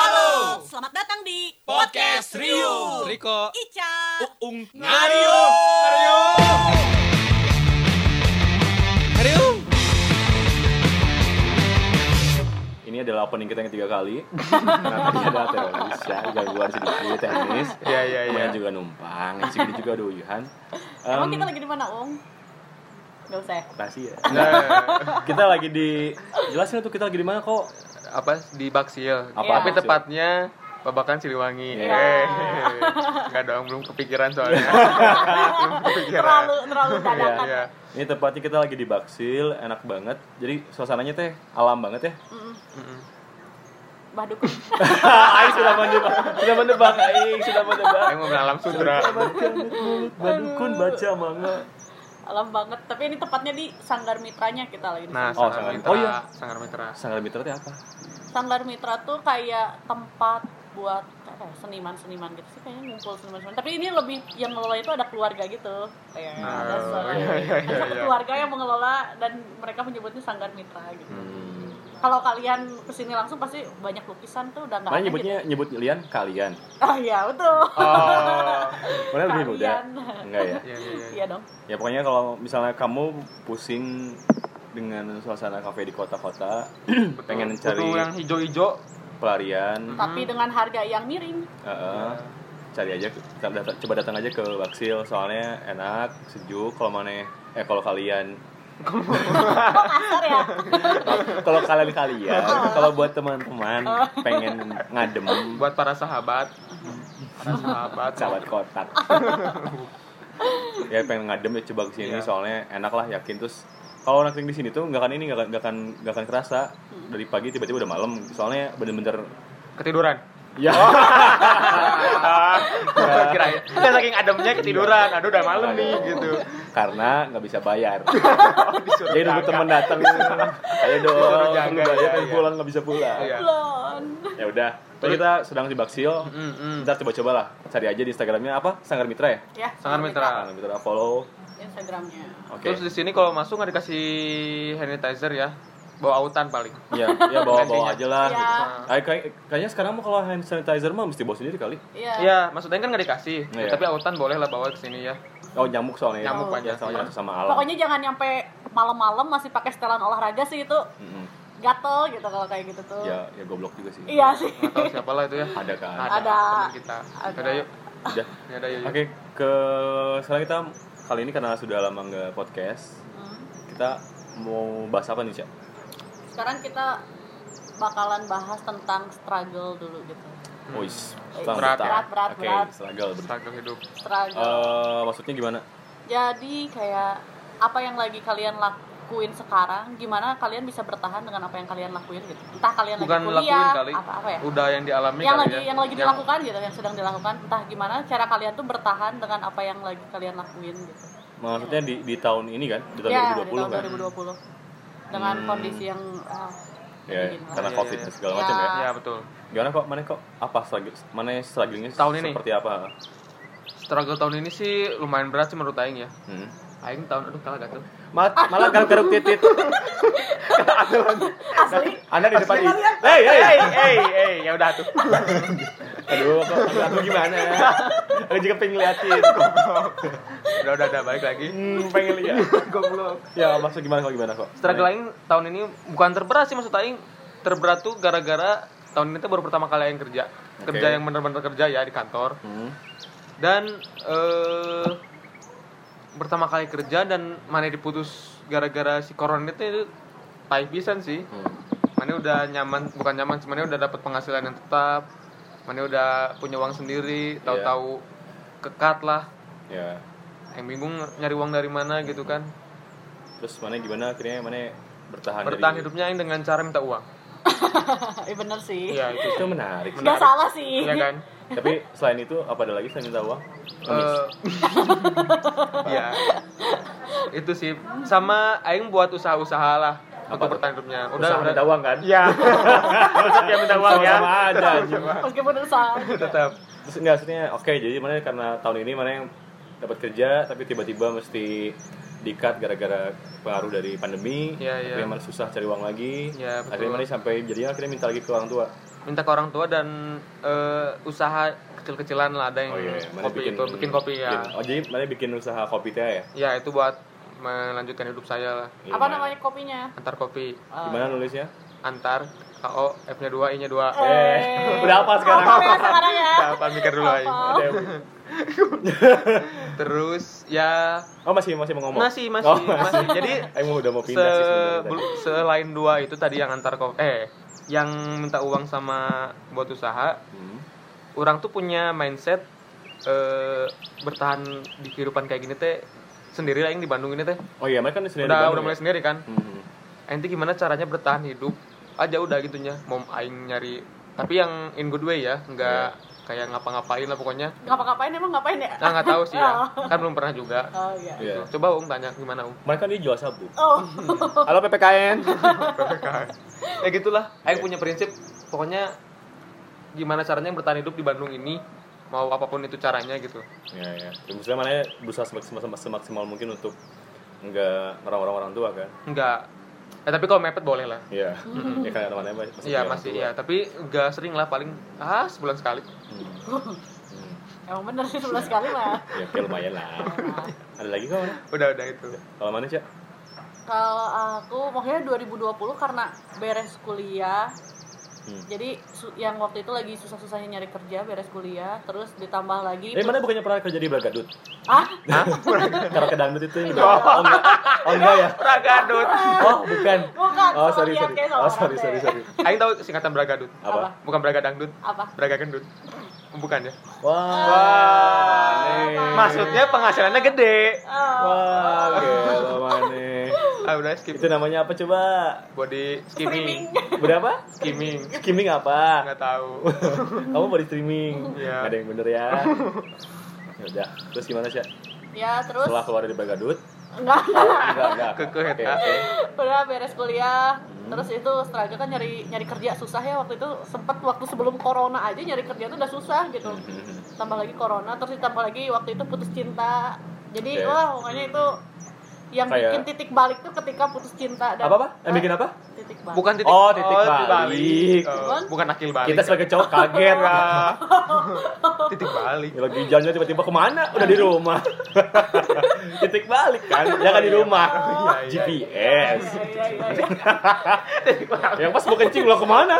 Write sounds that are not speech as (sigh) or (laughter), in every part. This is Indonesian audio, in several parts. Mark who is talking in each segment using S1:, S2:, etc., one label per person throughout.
S1: Halo,
S2: Selamat datang di
S1: Podcast Rio. Riko.
S2: Ica.
S1: Uung Ngario. Ngario. Ngario.
S3: Ini adalah opening kita yang ketiga kali. (laughs) Karena tadi ada teroris ya, gangguan sedikit teknis.
S4: Iya, iya, iya.
S3: Kemudian juga numpang, yang segini juga ada uyuhan.
S2: Emang
S3: Em,
S2: kita lagi di mana, Om? Gak usah ya.
S3: rahasia.
S4: Nah,
S3: Kita lagi di jelasin tuh kita lagi di mana kok?
S4: apa di Baksil.
S3: Apa?
S4: Tapi
S3: Baksil?
S4: tepatnya Babakan Siliwangi.
S3: Iya.
S4: Eh, Nggak dong, belum kepikiran soalnya.
S3: (laughs)
S4: belum kepikiran.
S2: Terlalu terlalu dadakan.
S4: Iya.
S3: Ini tepatnya kita lagi di Baksil, enak banget. Jadi suasananya teh alam banget ya. (laughs)
S4: Mm-mm.
S2: Bah dukun.
S3: Aing sudah mendebak, sudah mendebak, Aing sudah mendebak.
S4: Saya mau beralam
S3: Iya,
S4: sutra.
S3: Badukun baca manga.
S2: (laughs) Alam banget. Tapi ini tepatnya di Sanggar Mitranya kita lagi. di
S4: Nah,
S2: sini.
S3: Oh,
S4: Sanggar
S3: Sanggar-
S4: Mitra.
S3: oh iya.
S4: Sanggar Mitra.
S3: Sanggar Mitra teh apa?
S2: Sanggar Mitra tuh kayak tempat buat apa ya, seniman-seniman gitu sih kayaknya ngumpul seniman-seniman tapi ini lebih yang ngelola itu ada keluarga gitu kayak
S4: Nah,
S2: ada, se-
S4: iya, iya,
S2: ada
S4: iya,
S2: satu
S4: iya.
S2: keluarga yang mengelola dan mereka menyebutnya sanggar mitra gitu
S3: Hmm.
S2: kalau kalian kesini langsung pasti banyak lukisan tuh udah nggak gitu.
S3: Mana
S2: aneh
S3: nyebutnya nyebut lian kalian.
S2: gitu. ah iya betul
S4: Oh.
S3: Mana lebih muda?
S2: Kalian. (laughs)
S3: Enggak ya.
S4: Iya, iya, iya.
S2: iya dong
S3: Ya pokoknya kalau misalnya kamu pusing dengan suasana kafe di kota-kota,
S4: Betul.
S3: pengen
S4: Kutu
S3: cari
S4: yang hijau-hijau.
S3: pelarian,
S2: tapi dengan harga yang miring
S3: eh, cari aja, kita dat- coba datang aja ke Baksil, soalnya enak, sejuk. Kalau mana, eh kalau kalian,
S2: kok kasar
S4: (laughs)
S2: ya
S3: kalau kalian kalian, kalau buat teman-teman pengen ngadem,
S4: Buat para sahabat. Para sahabat.
S3: sahabat kotak. ya pengen ngadem ya coba kesini
S4: Iya.
S3: soalnya enak lah yakin terus kalau nongkrong di sini tuh nggak akan ini nggak akan- nggak akan nggak akan kerasa dari pagi tiba-tiba udah malam soalnya bener-bener
S4: Ketiduran.
S3: Ya. Iya.
S4: Kirain. Kan saking ademnya ketiduran. Aduh, udah malam nih gitu.
S3: Karena nggak bisa
S4: (laughs)
S3: bayar.
S4: Oh, disuruh
S3: Jadi nunggu
S4: jaga.
S3: teman datang. Ayo dong.
S4: Disuruh
S3: Lu
S4: jaga,
S3: bayar
S4: iya,
S3: pengen
S4: iya.
S3: pulang nggak bisa pulang.
S4: Iya.
S2: Lon.
S3: Ya udah. Tadi kita sedang di Baksil.
S4: Mm-mm.
S3: Kita coba-coba lah. Cari aja di Instagramnya apa? Sanggar Mitra ya.
S2: ya
S4: Sanggar Mitra.
S3: Sanggar Mitra follow.
S2: Instagramnya
S3: Oke.
S4: Iya. Terus di sini kalau masuk nggak dikasih hand sanitizer ya, bawa autan paling.
S3: Iya, ya
S4: (laughs)
S3: bawa-bawa aja lah.
S2: Iya.
S3: Ay, kayak- kayaknya sekarang mah kalau hand sanitizer mah mesti bawa sendiri kali.
S2: iya
S4: Iya, maksudnya kan nggak dikasih,
S3: Iya.
S4: tapi autan boleh lah bawa ke sini ya.
S3: Oh, nyamuk soalnya. ya.
S4: Nyamuk
S3: Ya,
S4: banyak,
S3: soalnya
S4: iya.
S3: sama alam.
S2: pokoknya jangan nyampe malam-malam masih pakai setelan olahraga sih itu
S3: Mm-mm.
S2: gatel gitu kalau kayak gitu tuh
S3: Ya, ya goblok juga sih.
S2: iya sih
S4: Nggak tahu siapa lah itu ya.
S3: Ada kan.
S2: Ada.
S4: teman kita.
S2: Ada.
S4: Ada, yuk.
S3: Udah.
S4: Ya, ada yuk. yuk.
S3: Oke, ke sekarang kita kali ini karena sudah lama nggak podcast,
S2: Hmm.
S3: kita mau bahas apa nih, Cak?
S2: sekarang kita bakalan bahas tentang struggle dulu gitu
S3: Oh, is,
S4: Berat,
S2: berat, berat,
S3: Oke,
S2: berat.
S3: struggle. berat.
S4: Struggle hidup. Oh,
S2: struggle
S3: Eh, maksudnya gimana?
S2: jadi kayak apa yang lagi kalian lakuin sekarang gimana kalian bisa bertahan dengan apa yang kalian lakuin gitu entah kalian
S4: Bukan
S2: lagi
S4: lakuin
S2: kuliah
S4: kali.
S2: apa apa ya
S4: Udah yang dialami
S2: yang
S4: kali
S2: lagi
S4: ya.
S2: yang lagi dilakukan gitu yang sedang dilakukan entah gimana cara kalian tuh bertahan dengan apa yang lagi kalian lakuin gitu
S3: Maksudnya di, di tahun ini kan, di tahun
S2: ya
S3: 2020 kan?
S2: di tahun 2020 dengan
S3: Hmm.
S2: kondisi yang ah,
S3: Ya,
S2: kayak gini lah. (laughs)
S3: karena
S4: Iya,
S3: covid
S4: iya,
S3: dan segala
S2: iya.
S3: macam ya.
S4: Ya betul.
S3: Gimana kok? Mana kok? Apa struggle? Mana strugglingnya
S4: Tahun ini?
S3: seperti apa?
S4: Struggle tahun ini sih lumayan berat sih menurut Aing ya.
S3: Hmm. Ah.
S4: Aing tahun aduh kalah gatel.
S3: Ma- malah garuk-garuk (laughs) titit.
S2: asli
S3: Anda di depan ini. Hei, hei,
S4: Hey, hey, hey, ya udah tuh.
S3: Aduh, kok aku
S4: (laughs)
S3: gimana? Aku juga pengen ngeliatin.
S4: Udah udah udah balik lagi.
S3: Hmm, pengen lihat.
S4: (laughs) Goblok.
S3: Ya, maksud gimana kok gimana kok?
S4: Struggle Aing tahun ini bukan terberat sih maksud Aing terberat tuh gara-gara tahun ini tuh baru pertama kali Aing kerja
S3: Oke.
S4: kerja yang bener-bener kerja ya di kantor
S3: Hmm.
S4: dan eh pertama kali kerja dan mana diputus gara-gara si corona itu, itu tai pisan sih
S3: Hmm.
S4: mana udah nyaman bukan nyaman sih mana udah dapat penghasilan yang tetap mana udah punya uang sendiri
S3: Iya.
S4: tahu-tahu kekat lah
S3: Ya.
S4: yang bingung nyari uang dari mana gitu kan
S3: Terus mana gimana akhirnya mana bertahan
S4: bertahan
S3: dari-
S4: hidupnya Aing dengan cara minta uang
S2: Iya bener sih
S4: iya itu
S3: Itu menarik sih.
S2: nggak salah sih
S4: ya kan
S3: Tapi selain itu apa ada lagi selain minta uang?
S4: Eh, (laughs) ya itu sih sama Aing buat usaha-usaha lah
S3: Apa tuh?
S4: untuk bertahan hidupnya udah
S3: Usaha
S4: udah
S3: minta uang kan?
S4: ya tetap yang minta uang ya
S3: Sama-sama ada. anjing.
S2: (laughs) meskipun usaha
S4: tetap
S3: Terus enggak maksudnya oke jadi mana karena tahun ini mana yang dapat kerja tapi tiba-tiba mesti dikat gara-gara pengaruh dari pandemi
S4: Iya, iya.
S3: akhirnya malah susah cari uang lagi
S4: Iya, betul.
S3: akhirnya malah sampai jadinya akhirnya minta lagi ke orang tua
S4: minta ke orang tua dan eh, usaha kecil-kecilan lah ada yang
S3: oh iya mana
S4: kopi itu bikin kopi ya
S3: bikin- oh jadi mana bikin usaha kopi teh ya
S4: ya itu buat melanjutkan hidup saya lah
S2: Apa namanya kopinya?
S4: antar kopi
S2: Eh,
S3: gimana nulisnya
S4: antar KO F nya 2 I nya 2
S3: eh udah apa sekarang
S2: Apa ya sekarang ya?
S4: apa mikir dulu aja
S3: Oh.
S2: Apa?
S4: terus ya
S3: oh masih masih mau ngomong
S4: masih masih
S3: Oh,
S4: masih jadi
S3: Emang udah mau pindah sih
S4: se-
S3: sebenarnya
S4: bel- selain dua itu tadi yang antar kopi eh yang minta uang sama buat usaha
S3: tadi. Hmm.
S4: orang tuh punya mindset eh, bertahan di kehidupan kayak gini teh sendiri lah yang di Bandung ini teh
S3: Oh iya, mereka kan sendiri
S4: udah
S3: di Bandung
S4: udah
S3: ya?
S4: mulai sendiri kan
S3: Hmm.
S4: ente gimana caranya bertahan hidup aja udah gitunya mau aing nyari tapi yang in good way ya nggak
S3: Iya.
S4: kayak ngapa-ngapain lah pokoknya
S2: Ngapa-ngapain emang ngapain ya?
S4: nah nggak tahu sih ya kan belum pernah juga
S2: Oh iya.
S3: Iya.
S4: coba Ung tanya gimana Ung
S3: Mereka kan dia jual
S4: (laughs)
S3: sabu.
S2: Oh,
S3: Halo PPKN.
S4: ya gitulah Aing punya prinsip pokoknya gimana caranya bertahan hidup di Bandung ini mau apapun itu caranya gitu
S3: Iya, iya. Ya, Maksudnya mana berusaha semaksimal, semaksimal mungkin untuk nggak merawat orang tua kan?
S4: nggak ya tapi kalau mepet boleh lah
S3: Iya. ya kan namanya masih
S4: Iya
S3: orang
S4: masih
S3: tua.
S4: ya, tapi nggak sering lah paling ah sebulan sekali.
S3: Hmm.
S2: (laughs)
S3: Hmm.
S2: emang bener sih 11 kali
S3: (laughs)
S2: lah.
S3: Ya, oke, lumayan lah. Ada lagi kok mana?
S4: Udah udah itu.
S3: Kalau mana, Cak?
S2: Kalau aku pokoknya 2020 karena beres kuliah.
S3: Hmm.
S2: Jadi su- yang waktu itu lagi susah-susahnya nyari kerja beres kuliah, terus ditambah lagi
S3: Eh, mana bukannya pernah kerja di Bragadut?
S2: Ah,
S3: Karena ke dangdut itu yang di Bragadut. Oh, enggak. Oh, enggak ya?
S4: Bragadut.
S3: Oh, bukan.
S2: bukan. sama
S3: Oh, sorry,
S2: dia,
S3: sorry.
S2: kayak sama
S3: Oh, sorry,
S2: Rante.
S3: sorry, sorry.
S4: Aing tahu singkatan Bragadut.
S2: Apa?
S3: Apa?
S4: Bukan Braga Dangdut,
S2: Apa?
S4: Braga Gendut. Bukan ya?
S3: Wah. aneh.
S4: Maksudnya penghasilannya gede.
S3: Wah, gila maneh.
S4: Ah udah skip.
S3: Itu namanya apa coba?
S4: Body
S2: Streaming.
S4: skimming.
S3: Berapa?
S4: Skimming.
S3: Skimming apa?
S4: Nggak tahu.
S3: Kamu mau di streaming?
S4: Iya.
S3: Nggak ada yang bener ya. Ya udah, terus gimana sih?
S2: Ya, terus
S3: Setelah keluar dari Bagadut?
S2: (laughs) enggak
S3: Enggak, enggak.
S4: Kekeh,
S3: Oke,
S4: tak.
S3: oke.
S2: udah beres kuliah.
S3: Hmm.
S2: Terus itu setelah itu kan nyari nyari kerja susah ya waktu itu sempet waktu sebelum corona aja nyari kerja tuh udah susah gitu.
S3: Mhm.
S2: Tambah lagi corona terus ditambah lagi waktu itu putus cinta. Jadi
S3: Oke.
S2: wah pokoknya itu yang
S3: Kayak-
S2: bikin titik balik tuh ketika putus cinta dan Eh,
S3: Apa apa? Yang bikin apa?
S2: titik balik.
S4: Bukan titik
S3: Oh, titik balik.
S4: Oh, bukan akil balik.
S3: Kita sebagai cowok kaget lah.
S4: Ah.
S3: (laughs)
S4: titik balik.
S3: Ya, lagi jalan tiba-tiba kemana? Udah di
S4: (laughs)
S3: rumah. Titik balik kan? Ya kan di rumah.
S4: iya, iya.
S3: GPS.
S2: Iya, iya, iya, iya.
S3: Yang pas mau kencing lo kemana?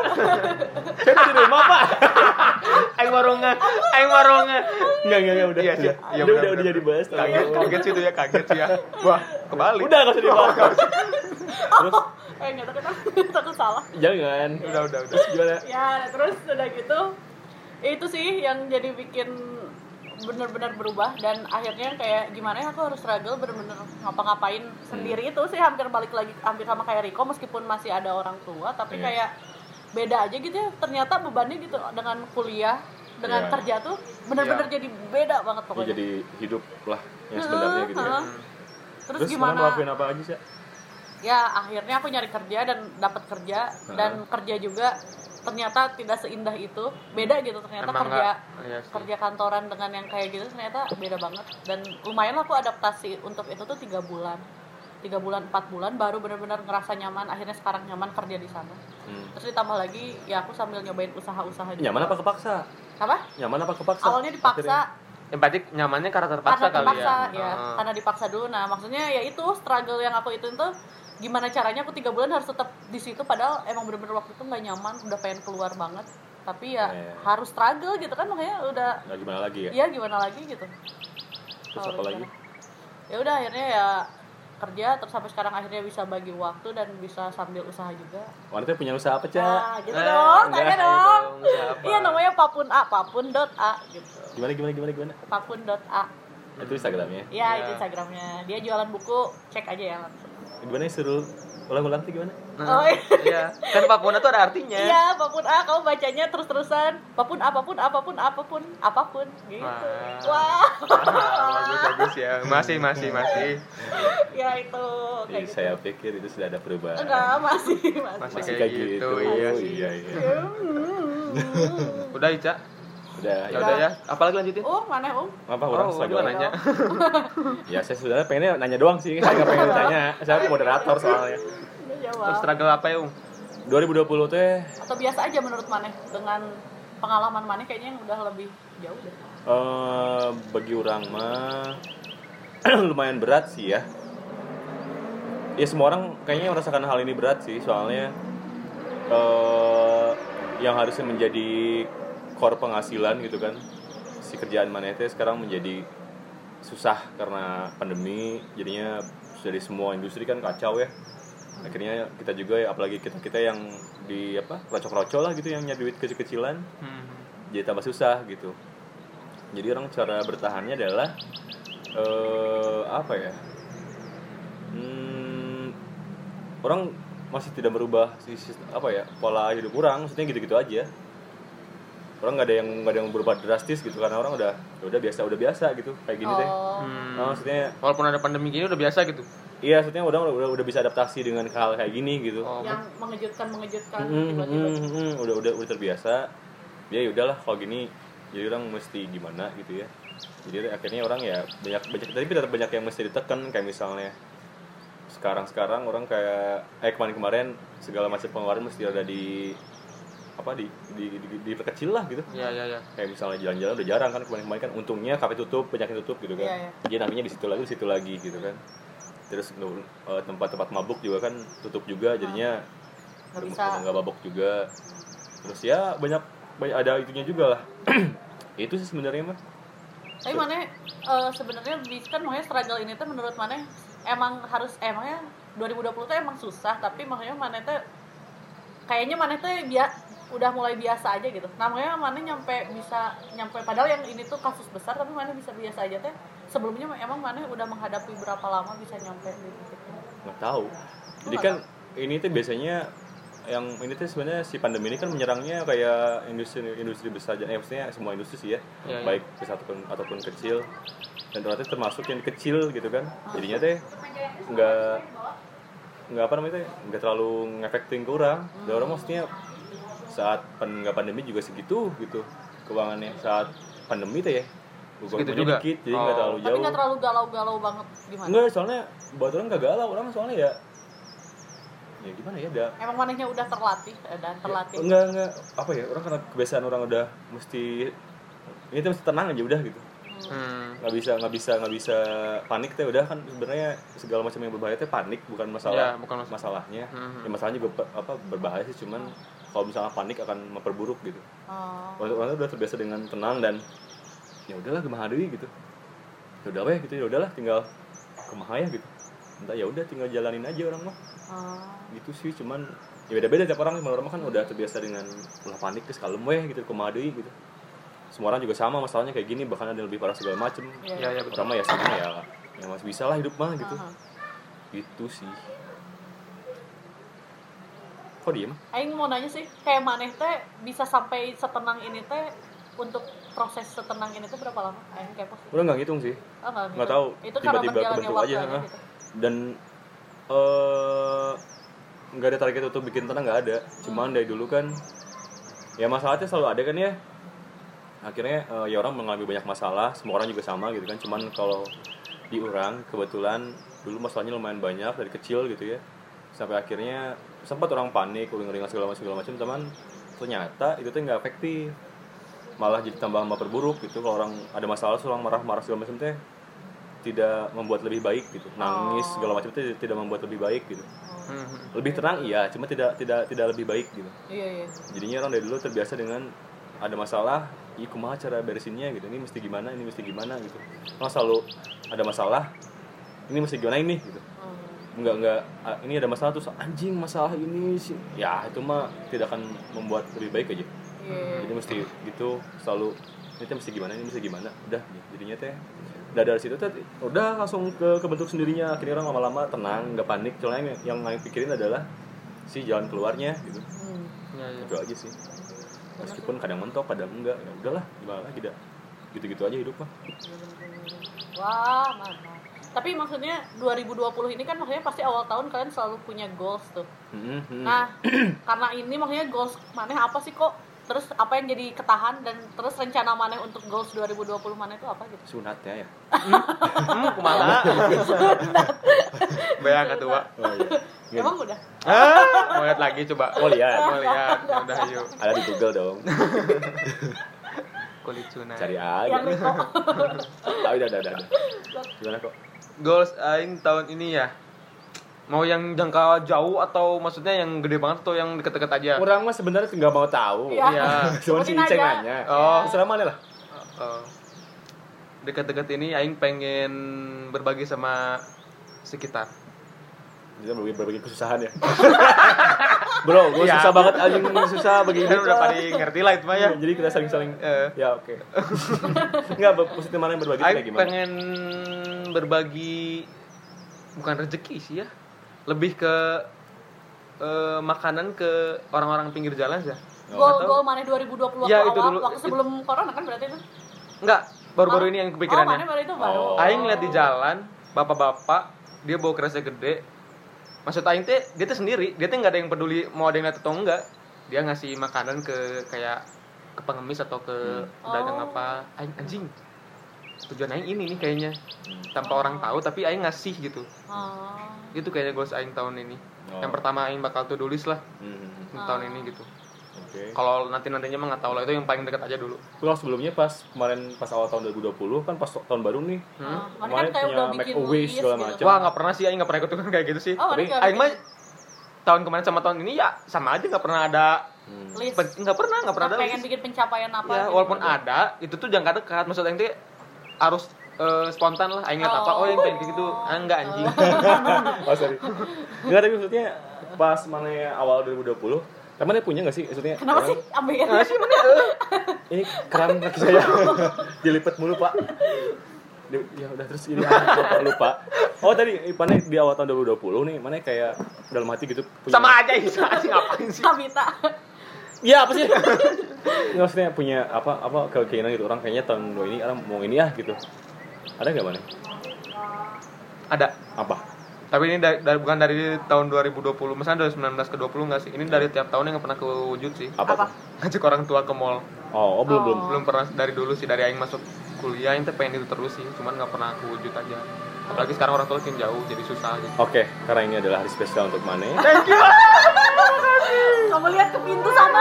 S3: Saya tadi di rumah pak.
S4: Aing warunge, aing warunge.
S3: Enggak, enggak, enggak, udah.
S4: Iya, iya.
S3: udah,
S4: Iya,
S3: udah,
S4: benar,
S3: udah
S4: benar.
S3: jadi bahas.
S4: Kaget, kaget Oh, sih itu ya, kaget sih ya. Wah, kebalik.
S3: Udah, nggak usah dibahas. Terus,
S2: Eh enggak takut takut- (laughs) takut salah.
S3: jangan.
S4: udah, udah, udah.
S3: Terus gimana?
S2: Ya, terus udah gitu itu sih yang jadi bikin bener-bener berubah dan akhirnya kayak gimana ya aku harus struggle bener-bener ngapa-ngapain sendiri itu sih hampir balik lagi hampir sama kayak Riko meskipun masih ada orang tua tapi
S3: Iya.
S2: kayak beda aja gitu ya ternyata bebannya gitu dengan kuliah dengan
S3: Iya.
S2: kerja tuh bener-bener
S4: Iya.
S2: jadi beda banget
S3: Ya,
S2: pokoknya
S3: jadi hidup lah yang sebenarnya gitu ya.
S2: Heeh. terus,
S3: Terus
S2: gimana
S3: gimana ngelakuin apa aja sih?
S2: ya akhirnya aku nyari kerja dan dapat kerja dan kerja juga ternyata tidak seindah itu beda gitu ternyata kerja
S4: nggak- iya sih.
S2: kerja kantoran dengan yang kayak gitu ternyata beda banget dan lumayan lah aku adaptasi untuk itu tuh tiga bulan tiga bulan empat bulan baru benar-benar ngerasa nyaman akhirnya sekarang nyaman kerja di sana
S3: Hmm.
S2: terus ditambah lagi ya aku sambil nyobain usaha-usaha juga.
S3: Nyaman apa kepaksa?
S2: apa
S3: Nyaman apa kepaksa?
S2: awalnya dipaksa
S4: Ya, berarti nyamannya karena
S2: karena
S4: terpaksa kali
S2: dipaksa
S4: ya.
S2: ya,
S3: Ah.
S4: Heeh.
S2: karena dipaksa dulu nah maksudnya ya itu struggle yang aku itu tuh gimana caranya aku tiga bulan harus tetap di situ padahal emang bener-bener waktu itu nggak nyaman udah pengen keluar banget tapi ya
S3: Iya.
S2: harus struggle gitu kan makanya udah
S3: Akhirnya? Nah, gimana lagi ya?
S2: ya gimana lagi gitu
S3: Terus apa
S2: Kalau
S3: lagi?
S2: gimana? ya udah akhirnya ya kerja terus sampai sekarang akhirnya bisa bagi waktu dan bisa sambil usaha juga
S3: Wanita punya usaha apa, Cak?
S2: nah gitu
S4: Eh,
S2: dong
S3: enggak,
S2: tanya
S3: ayo
S2: dong
S4: dong, siapa?
S2: iya namanya papun a papun dot a gitu
S3: Gimana, gimana, gimana, gimana?
S2: papun dot a
S3: Itu Instagramnya.
S2: Ya,
S4: Ya.
S2: itu Instagramnya. Dia jualan buku, cek aja ya langsung.
S3: Gimana suruh ulang-ulang tuh gimana?
S4: Nah,
S2: Oh, iya.
S4: iya. Kan Papua tuh ada artinya.
S2: Iya, apapun ah, kamu bacanya terus-terusan. Apapun, apapun, apapun, apapun, apapun, gitu.
S4: Wah.
S2: Wah,
S4: Ah, bagus bagus ya. Masih
S3: Iya.
S4: masih masih.
S2: ya itu
S4: Oh,
S2: kayak
S3: Jadi
S2: gitu.
S3: Iya, saya pikir itu sudah ada perubahan.
S2: Enggak, masih, masih.
S4: gitu,
S3: Oh,
S4: Masih kayak gitu, iya sih.
S3: iya, iya.
S2: (laughs) Hmm.
S4: Udah Ica.
S2: Iya.
S3: Udah,
S4: Ya
S3: ya
S4: udah ya, apalagi lanjutin?
S2: Um, mana um?
S3: Apa orang
S4: Oh,
S3: struggle
S4: gua nanya.
S3: Ya saya sebenarnya pengennya nanya doang sih, saya nggak
S4: (laughs)
S3: pengen ditanya. Saya moderator soalnya.
S2: Udah jawab.
S4: Terus (laughs) struggle apa ya, Ung?
S3: 2020 teh
S2: Atau biasa aja menurut mana dengan pengalaman mana kayaknya yang udah lebih jauh deh.
S3: eh bagi orang mah (clears throat) lumayan berat sih ya. Ya semua orang kayaknya merasakan hal ini berat sih soalnya eh yang harusnya menjadi core penghasilan gitu kan si kerjaan mana itu sekarang menjadi susah karena pandemi jadinya dari semua industri kan kacau ya akhirnya kita juga ya apalagi kita kita yang di apa rocok-rocok lah gitu yang nyari duit kecil-kecilan
S4: Hmm.
S3: jadi tambah susah gitu jadi orang cara bertahannya adalah eh apa ya hmm, orang masih tidak merubah si, sis- apa ya pola hidup orang maksudnya gitu-gitu aja orang nggak ada yang nggak ada yang berubah drastis gitu karena orang udah "Ya udah biasa udah biasa gitu kayak gini deh
S2: Oh.
S4: Hmm.
S3: Nah, maksudnya
S4: Walaupun ada pandemi gini udah biasa gitu.
S3: iya maksudnya orang udah udah bisa adaptasi dengan hal kayak gini gitu
S4: Oh,
S2: yang mengejutkan mengejutkan
S3: Mm,
S2: tiba-tiba
S3: mm, mm, udah udah udah terbiasa ya ya udahlah kalau gini jadi orang mesti gimana gitu ya jadi akhirnya orang ya banyak banyak tapi tetap banyak yang mesti ditekan kayak misalnya sekarang sekarang orang kayak eh kemarin kemarin segala macam pengeluaran mesti ada di apa di di, di, di- diperkecil lah gitu
S4: ya ya ya.
S2: Iya.
S3: kayak misalnya jalan-jalan udah jarang kan kemarin-kemarin kan untungnya kafe tutup banyak yang tutup gitu kan
S2: Iya, iya.
S3: jadi nantinya di situ lagi di situ lagi gitu kan terus nu- eh, tempat-tempat mabuk juga kan tutup juga jadinya
S2: Ah. Nggak
S3: rumah-
S2: bisa.
S3: rumah nggak babok juga terus ya banyak banyak ada itunya juga lah (clears throat) itu sih sebenarnya mah
S2: tapi mana eh, sebenarnya di kan makanya struggle ini tuh menurut mana emang harus eh, emangnya 2020 tuh emang susah tapi makanya mana tuh kayaknya mana tuh bia- udah mulai biasa aja gitu namanya mana nyampe bisa nyampe padahal yang ini tuh kasus besar tapi mana bisa biasa aja teh sebelumnya emang mana udah menghadapi berapa lama bisa nyampe di titik ini?
S3: nggak tahu jadi kan ini tuh biasanya yang ini tuh sebenarnya si pandemi ini kan menyerangnya kayak industri industri besar eh, maksudnya semua industri sih ya,
S4: Iya, iya.
S3: baik besar ataupun ataupun kecil dan ternyata termasuk yang kecil gitu kan
S4: Ah.
S3: jadinya teh nggak nggak apa namanya teh nggak terlalu ngefektin ke orang Dan orang maksudnya saat pen, nggak pandemi juga segitu gitu keuangannya saat pandemi teh ya
S4: Segitu
S3: keuangannya
S4: juga?
S3: dikit jadi nggak
S4: Oh.
S3: terlalu
S2: tapi
S3: jauh
S2: nggak terlalu galau-galau banget gimana
S3: Enggak, soalnya buat orang gak galau, orang soalnya ya Ya gimana ya, da,
S2: emang manehnya udah terlatih eh, dan terlatih
S3: Enggak, enggak, apa ya, orang karena kebiasaan orang udah mesti Ini tuh mesti tenang aja udah gitu
S4: Hmm.
S3: nggak bisa nggak bisa nggak bisa panik teh udah kan sebenarnya segala macam yang berbahaya teh panik bukan masalah
S4: Ya, bukan mas-
S3: masalahnya
S4: Mhm.
S3: ya, masalahnya juga pe- apa berbahaya sih cuman kalau misalnya panik akan memperburuk gitu
S2: Oh.
S3: orang orang udah terbiasa dengan tenang dan ya udahlah kemahari gitu ya udah weh gitu ya udahlah tinggal kemahaya gitu entah ya udah tinggal jalanin aja orang mah
S2: Oh.
S3: gitu sih cuman ya beda beda tiap orang orang mah kan udah terbiasa dengan ulah panik terus kalem weh gitu kemahari gitu semua orang juga sama masalahnya kayak gini bahkan ada yang lebih parah segala macem
S2: Iya.
S4: Ya ya betul.
S3: pertama ya sama ya ya masih bisa lah hidup mah gitu
S2: Aha.
S3: gitu sih kok diem
S2: Aing mau nanya sih, kayak maneh teh bisa sampai setenang ini teh untuk proses setenang ini tuh berapa lama? Aing kepo.
S3: udah nggak ngitung sih
S2: Oh, nggak gitu.
S3: Nggak tahu,
S2: Itu karena
S3: tiba-tiba
S2: berjalannya
S3: kebentuk
S2: waktu
S3: aja,
S2: aja,
S3: ah.
S2: gitu.
S3: dan eh nggak ada target untuk bikin tenang nggak ada cuman
S2: Hmm.
S3: dari dulu kan ya masalahnya selalu ada kan ya akhirnya eh, ya orang mengalami banyak masalah semua orang juga sama gitu kan cuman kalau di orang kebetulan dulu masalahnya lumayan banyak dari kecil gitu ya sampai akhirnya sempat orang panik uring-uringan segala macam segala macam teman ternyata itu tuh nggak efektif malah jadi tambah memperburuk gitu kalau orang ada masalah terus orang marah-marah segala macam teh tidak membuat lebih baik gitu nangis
S2: Oh.
S3: segala macam itu tidak membuat lebih baik gitu
S4: Mhm.
S3: lebih tenang iya cuma tidak tidak tidak lebih baik gitu
S2: Iya, iya.
S3: jadinya orang dari dulu terbiasa dengan ada masalah ih kumaha cara beresinnya gitu ini mesti gimana ini mesti gimana gitu orang selalu ada masalah ini mesti gimana ini gitu
S2: Hmm.
S3: nggak nggak ah, ini ada masalah terus anjing masalah ini sih ya itu mah tidak akan membuat lebih baik aja
S2: Iya, iya.
S3: jadi mesti gitu selalu ini teh mesti gimana ini mesti gimana udah jadinya teh udah dari situ teh udah langsung ke kebentuk sendirinya akhirnya orang lama-lama tenang nggak panik soalnya yang yang lain pikirin adalah si jalan keluarnya gitu
S2: Hmm.
S4: Ya ya.
S3: itu aja sih meskipun kadang mentok kadang enggak ya udahlah gimana lagi dah gitu-gitu aja hidup mah
S2: Wah, mantap. Tapi maksudnya 2020 ini kan maksudnya pasti awal tahun kalian selalu punya goals tuh.
S3: Mhm,
S4: Hmm. Ah.
S3: mhm.
S2: (clears throat) Nah, karena ini maksudnya goals maneh apa sih kok terus apa yang jadi ketahan dan terus rencana maneh untuk goals 2020 maneh itu apa gitu
S3: sunatnya ya
S4: Hmm, kumaha? (laughs) Bayang ketua.
S3: oh iya Gini.
S4: Ya.
S2: emang udah
S4: Ah, mau lihat lagi coba.
S3: Mau lihat?
S4: Mau lihat. Ya Udah yuk.
S3: ada di Google dong
S4: Kulit sunat.
S3: cari ya.
S2: yang
S3: aja
S4: (laughs)
S2: Rico
S3: ah udah udah udah udah. gimana kok
S4: Goals aing tahun ini ya. Mau yang jangka jauh atau maksudnya yang gede banget atau yang deket-deket aja?
S3: Ya. orang mah sebenarnya nggak mau tahu
S2: Iya.
S4: Iya.
S3: cuman si
S2: Sebutin
S3: Iceng
S2: aja.
S3: nanya
S4: Oh.
S3: selama ada lah
S4: Eh, Dekat-dekat ini aing pengen berbagi sama sekitar.
S3: Dia berbagi, berbagi kesusahan ya (laughs) Bro, gue
S4: Iya.
S3: susah banget anjing susah bagi
S4: Kan
S3: hidup
S4: udah
S3: lah.
S4: paling ngerti lah itu mah
S3: Iya,
S4: ya.
S3: jadi kita saling-saling
S4: Eh.
S3: ya oke. (laughs) Enggak be- positif mana yang berbagi kayak
S4: Aing
S3: gimana?
S4: pengen berbagi bukan rezeki sih ya, lebih ke eh, makanan ke orang-orang pinggir jalan sih. ya.
S2: gol
S4: tahu.
S2: gol maneh 2020
S4: Ya,
S2: waktu
S4: itu
S2: awal
S4: dulu.
S2: waktu sebelum corona kan berarti itu
S4: Enggak, baru-baru
S2: Ah.
S4: ini yang
S2: oh maneh
S4: kepikirannya.
S2: baru itu baru
S3: Oh.
S4: Aing lihat di jalan bapak-bapak dia bawa kerasnya gede. Maksud Aing teh dia tuh sendiri, dia tuh nggak ada yang peduli mau ada yang lihat atau enggak. Dia ngasih makanan ke kayak ke pengemis atau ke pedagang
S2: Oh.
S4: apa. Aing anjing. Tujuan Aing ini nih kayaknya tanpa orang tahu tapi Aing ngasih gitu.
S2: Oh.
S4: Itu kayaknya goals Aing tahun ini.
S3: Oh.
S4: Yang pertama Aing bakal tuh tulis lah
S3: Hmm,
S2: Oh.
S4: tahun ini gitu.
S3: Oke.
S4: Kalau nanti nantinya mah nggak tahu lah itu yang paling dekat aja dulu.
S3: Kalau sebelumnya pas kemarin pas awal tahun 2020 kan pas tahun baru nih.
S2: Oh,
S3: Hmm.
S2: Maneh kan
S3: Kemarin
S2: kayak
S3: punya
S2: udah
S3: make
S2: bikin
S3: a wish
S2: list
S3: segala
S2: gitu.
S3: macam.
S4: Wah nggak pernah sih Aing nggak pernah ikut kayak gitu sih.
S2: Oh, Maneh
S3: Tapi
S2: nggak
S4: Aing mah
S2: bikin
S4: tahun kemarin sama tahun ini ya sama aja nggak pernah ada
S3: Hmm.
S2: list.
S4: pe- nggak pernah nggak pernah ada
S2: pengen
S4: list.
S2: bikin pencapaian apa
S4: ya
S2: gitu.
S4: walaupun ada itu tuh jangka dekat maksud Aing tuh harus eh, spontan lah Aing ingat apa oh yang pengen kayak gitu ah, enggak
S2: (laughs)
S4: anjing
S3: (laughs) Oh sorry. Enggak tapi maksudnya pas mana ya awal 2020 Tapi mana punya gak sih? Maksudnya
S2: kenapa
S3: orang,
S2: sih ya. ambeien
S4: Nggak sih mana eh.
S3: Ini keram kaki saya (laughs) Dilipet mulu pak Di- Ya udah terus ini lupa, lupa Oh tadi mana di awal tahun 2020 nih Mana kayak dalam hati gitu punya
S4: sama aja (laughs) Isa sih ngapain sih
S2: Kabita
S3: Iya apa sih? (laughs) Nggak, maksudnya punya apa apa ke- keinginan gitu orang kayaknya tahun dua ini orang mau ini ah gitu. Ada nggak mana?
S4: ada
S3: Apa?
S4: tapi ini dari, dari- bukan dari tahun 2020 misalnya dari 19 ke 20 nggak sih ini dari tiap tahun yang pernah kewujud sih (laughs)
S3: Apa?
S2: Apa?
S3: tuh?
S4: ngajak orang tua ke mall
S3: Oh, oh, belum belum.
S4: belum pernah dari dulu sih dari Aing masuk kuliah Aing tuh pengen itu terus sih cuman nggak pernah kewujud aja apalagi sekarang orang tua makin jauh jadi susah (laughs) gitu
S3: Oke, karena ini adalah hari spesial untuk Mane.
S2: kamu lihat ke pintu
S4: (laughs)
S2: sana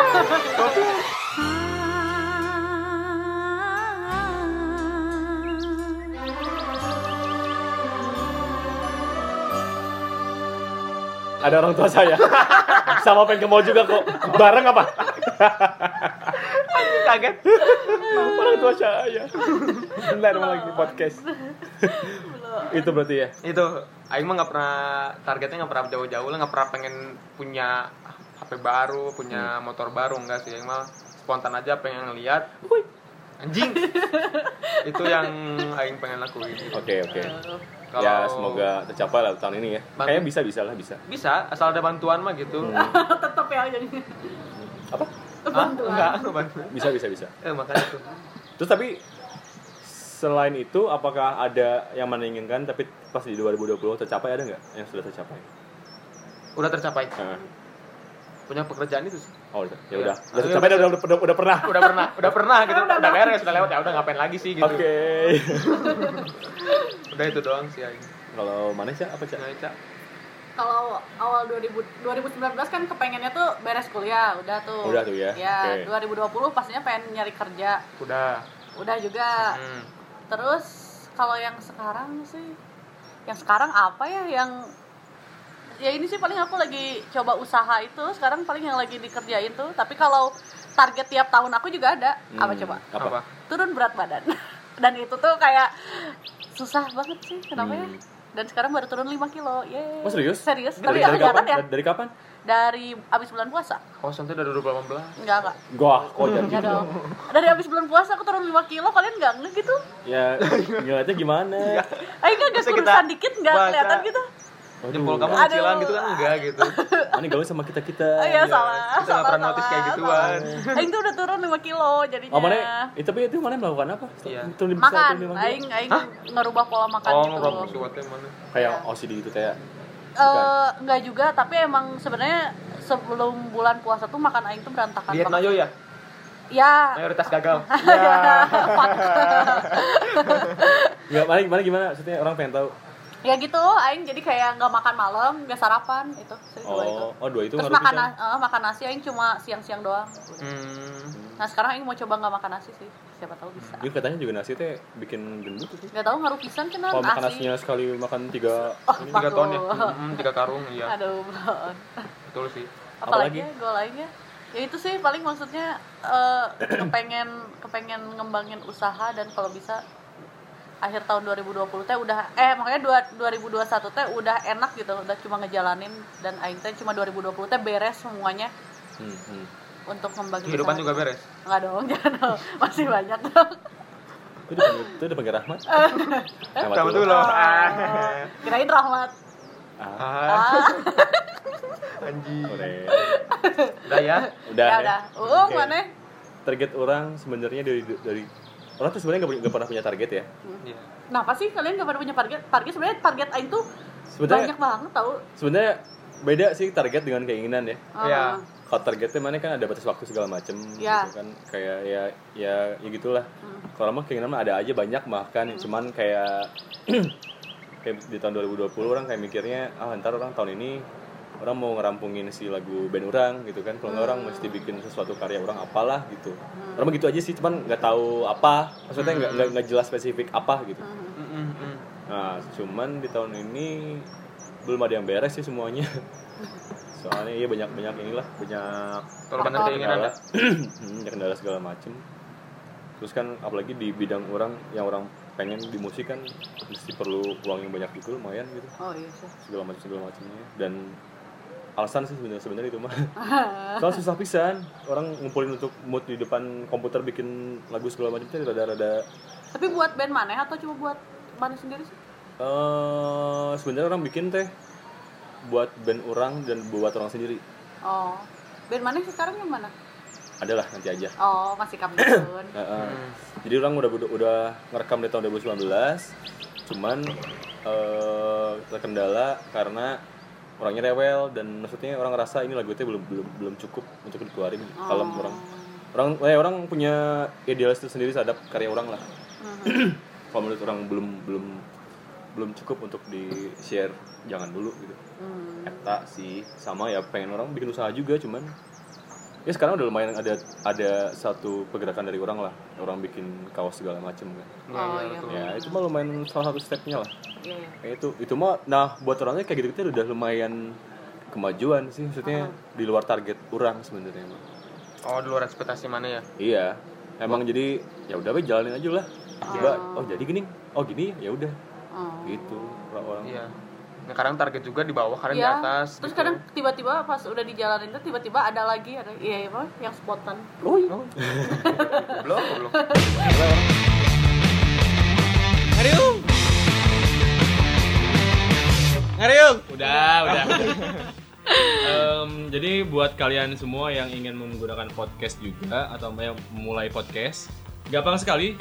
S3: Ada orang tua (laughs) saya. Sama pengen ke mall juga kok. Bareng apa?
S4: kaget
S3: orang tua saya. Bentar mau lagi podcast. Itu berarti ya.
S4: itu Aing mah nggak pernah targetnya nggak pernah jauh-jauh lah nggak pernah pengen punya HP baru punya
S3: Hmm.
S4: motor baru enggak sih Aing mah spontan aja pengen ngeliat Wuih,
S3: (laughs)
S4: anjing itu yang Aing pengen lakuin gitu.
S3: Oke, oke.
S4: Kalau-
S3: Ya, semoga tercapai lah tahun ini ya.
S4: Bang-
S3: Kayaknya bisa bisa lah bisa.
S4: bisa asal ada bantuan mah gitu
S2: tetap ya jadi
S3: Apa?
S4: Hah? enggak bantuan
S3: Bisa bisa bisa.
S4: eh makanya tuh
S3: Terus tapi selain itu apakah ada yang mana inginkan tapi pas di 2020 tercapai ada nggak yang sudah tercapai?
S4: udah tercapai
S3: Nah,
S4: punya pekerjaan itu sih
S3: oh udah, ya udah,
S4: Hmm. Iya.
S3: udah tercapai udah, udah, udah, udah pernah.
S4: udah pernah udah pernah gitu udah, beres udah lewat ya udah ngapain lagi sih gitu
S3: Oke.
S4: udah itu doang sih Aing
S3: (laughs) Kalau mana sih apa sih?
S4: Nah, Ica,
S2: kalau awal 2000, 2019 kan kepengennya tuh beres kuliah udah tuh
S3: Udah tuh ya,
S2: ya
S3: oke.
S2: 2020 pastinya pengen nyari kerja
S4: udah
S2: udah juga
S4: Hmm.
S2: terus kalau yang sekarang sih yang sekarang apa ya yang ya ini sih paling aku lagi coba usaha itu sekarang paling yang lagi dikerjain tuh tapi kalau target tiap tahun aku juga ada apa
S3: Hmm,
S2: coba
S3: Apa?
S4: apa
S2: turun berat badan (laughs) dan itu tuh kayak susah banget sih kenapa ya
S3: Hmm.
S2: dan sekarang baru turun 5 kilo Yeay.
S3: Oh, serius?
S2: serius tapi
S3: Dari, dari
S2: nggak
S3: kapan?
S2: kelihatan ya
S3: Dari kapan?
S2: dari abis bulan puasa
S4: Oh, santai dari 2018.
S2: enggak enggak
S3: Gua kok jadi
S2: enggak
S3: gitu.
S2: dong dari abis bulan puasa aku turun 5 kilo kalian nggak nge gitu
S3: Ya, ngeliatnya
S2: (laughs)
S3: gimana?
S2: eh enggak enggak
S4: Bisa kita
S2: kurusan dikit nggak
S4: baca.
S2: kelihatan gitu
S3: Waduh,
S4: Jempol kamu
S2: Aduh.
S4: kecilan gitu kan enggak gitu.
S3: Mana gaul sama kita-kita.
S2: oh iya
S4: Iya,
S2: salah
S4: Kita nggak
S2: salah
S4: pernah notice kayak gituan.
S2: salah. Aing tuh udah turun 5 kilo jadinya
S3: Oh, mana? Eh, tapi itu mana melakukan apa?
S4: Iya.
S3: Turun di-
S2: Iya. makan
S3: turun di mana?
S2: aing aing ngerubah pola makan
S4: Oh,
S2: gitu
S4: ngobrol si Wate mana?
S3: Kayak
S2: Iya.
S3: OCD gitu kayak.
S2: Eh, enggak juga tapi emang sebenarnya sebelum bulan puasa tuh makan aing tuh berantakan
S4: Diet
S2: banget
S4: Nayo ya?
S2: ya
S4: mayoritas gagal
S2: Iya.
S3: (laughs) Ya, mana gimana gimana? Maksudnya orang pengen tahu.
S2: ya gitu aing jadi kayak nggak makan malam nggak sarapan itu sih dua itu
S3: Oh, oh dua itu
S2: terus
S3: ngaruh
S2: makan
S3: pisan.
S2: na- eh, makan nasi aing cuma siang-siang doang
S4: hmm.
S2: nah sekarang aing mau coba nggak makan nasi sih siapa tahu bisa
S3: Juga katanya juga nasi teh bikin gendut. tuh.
S2: nggak tahu ngaruh pisan kan
S3: Iya. Kalau makan
S2: nasi
S3: nasinya sekali makan tiga
S2: oh
S4: ini tiga
S2: pak
S4: ton ya Hmm, tiga karung iya
S2: aduh (laughs) bro.
S4: betul sih
S2: apalagi
S3: Apalagi?
S2: ya, gol lainnya ya itu sih paling maksudnya eh, (clears throat) kepengen kepengen ngembangin usaha dan kalau bisa akhir tahun 2020 teh udah eh makanya dua- 2021 teh udah enak gitu udah cuma ngejalanin dan aing teh cuma 2020 teh beres semuanya
S3: Hmm, hmm.
S2: untuk ngembangin
S4: kehidupan
S2: usaha.
S4: juga beres
S2: nggak dong (laughs) jangan dong masih banyak dong
S3: Itu dipanggil, itu dipanggil
S2: (laughs)
S3: Rahmat.
S2: Eh.
S3: Rahmat
S4: kamu tuh
S3: dulu.
S4: loh
S2: kirain rahmat
S3: Ah,
S4: ah
S2: ah
S4: anjing
S3: udah.
S4: udah ya
S3: Udah.
S2: ya
S3: ya.
S2: udah uung
S3: Oke.
S2: mana
S3: Target orang sebenarnya dari dari orang tuh sebenarnya nggak punya- nggak pernah punya target ya.
S4: Iya.
S2: nah pasti kalian gak pada punya target target sebenarnya target aing tuh
S3: Sebenarnya
S2: banyak banget tau
S3: sebenarnya beda sih target dengan keinginan ya.
S2: Ah.
S4: Iya.
S3: Kalau targetnya mana kan ada batas waktu segala macem
S2: Ya.
S3: gitu kan kayak ya ya ya gitulah.
S2: Hmm.
S3: Kalau mah keinginan mah ada aja banyak bahkan cuman kayak (clears throat) kayak di tahun 2020 orang kayak mikirnya ah ntar orang tahun ini orang mau ngerampungin si lagu band orang gitu kan kalau nggak orang
S2: Hmm.
S3: mesti bikin sesuatu karya orang apalah gitu orang begitu aja sih cuman nggak tahu apa maksudnya nggak nggak nggak jelas spesifik apa gitu
S2: Hmm.
S4: Mm, mm, mm.
S3: Nah, cuman di tahun ini belum ada yang beres sih
S2: (laughs)
S3: semuanya. Soalnya iya banyak-banyak inilah, banyak
S4: Kalau benar keinginan
S3: kendala,
S4: ada.
S3: (clears throat) banyak kendala segala macem. Terus kan apalagi di bidang orang yang orang pengen di musik kan mesti perlu uang yang banyak juga lumayan gitu
S2: oh iya sih
S3: segala macam segala macamnya dan alasan sih sebenarnya sebenarnya itu mah soalnya susah pisan orang ngumpulin untuk mood di depan komputer bikin lagu segala macam itu rada-rada
S2: Tapi buat band maneh atau cuma buat maneh sendiri sih?
S3: eh sebenarnya orang bikin teh buat band orang dan buat orang sendiri
S2: Oh. Band maneh sekarang yang mana?
S3: adalah nanti aja
S2: Oh, masih Kamdun.
S3: Nah, eh,
S4: Hmm.
S3: jadi orang udah udah, udah ngerekam dari tahun 2019 cuman eh terkendala karena orangnya rewel dan maksudnya orang ngerasa ini lagu teh belum belum belum cukup untuk dikeluarin kalau orang orang eh, orang punya idealis itu sendiri terhadap karya orang lah (clears throat) kalau menurut orang belum belum belum cukup untuk di share jangan dulu gitu
S2: Hmm.
S3: Eta sih sama ya pengen orang bikin usaha juga cuman ya sekarang udah lumayan ada ada satu pergerakan dari orang lah orang bikin kaos segala macem kan
S2: Oh,
S4: Iya, iya,
S2: iya,
S4: betul.
S3: ya itu mah lumayan salah satu stepnya lah
S2: Iya, iya.
S3: kayak itu itu mah nah buat orangnya kayak gitu gitu udah lumayan kemajuan sih maksudnya di luar target orang sebenarnya mah.
S4: oh di luar ekspektasi mana ya
S3: iya emang jadi ya udah be jalanin aja lah coba oh jadi gini oh gini ya udah
S2: Oh.
S3: gitu orang
S4: iya nah, kadang target juga di bawah kadang
S2: Iya.
S4: di atas
S2: Terus
S4: gitu.
S2: kadang tiba-tiba pas udah dijalanin tuh tiba-tiba ada lagi ada iya iya apa? yang spontan.
S3: oh iya.
S4: belum belum
S1: Ngariung. Ngariung. Udah, udah.
S5: Em, jadi buat kalian semua yang ingin menggunakan podcast juga atau yang mulai podcast, gampang sekali.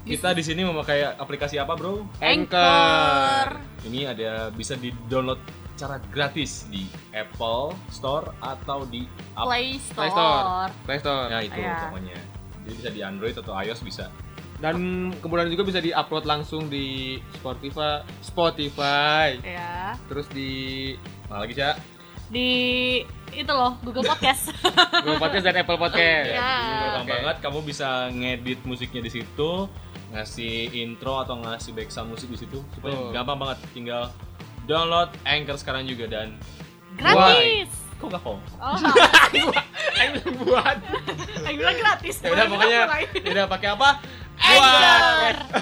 S5: Kita di sini memakai aplikasi apa, Bro?
S1: Anchor.
S5: Ini ada bisa di-download secara gratis di Apple Store atau di App.
S6: Play Store.
S1: Play Store. Play Store. ya.
S5: Nah, itu
S6: Iya.
S5: pokoknya. Jadi bisa di Android atau iOS bisa.
S1: Dan kemudian juga bisa diupload langsung di Spotify, Spotify,
S2: Iya.
S6: Ya.
S1: terus di
S5: Mana Nah, lagi, Cak?
S6: Di itu loh Google Podcast.
S1: Google Podcast dan Apple Podcast.
S2: Ya.
S6: Iya.
S5: Gampang
S1: Oke.
S5: banget kamu bisa ngedit musiknya di situ, ngasih intro atau ngasih background musik di situ. Supaya
S1: Betul.
S5: gampang banget tinggal download Anchor sekarang juga dan
S6: gratis.
S5: kok nggak kok?
S6: Oh,
S1: buat.
S6: yang bilang gratis.
S1: Ya udah
S6: Mulai,
S1: pokoknya
S6: mulai.
S1: udah pakai apa?
S6: Anchor.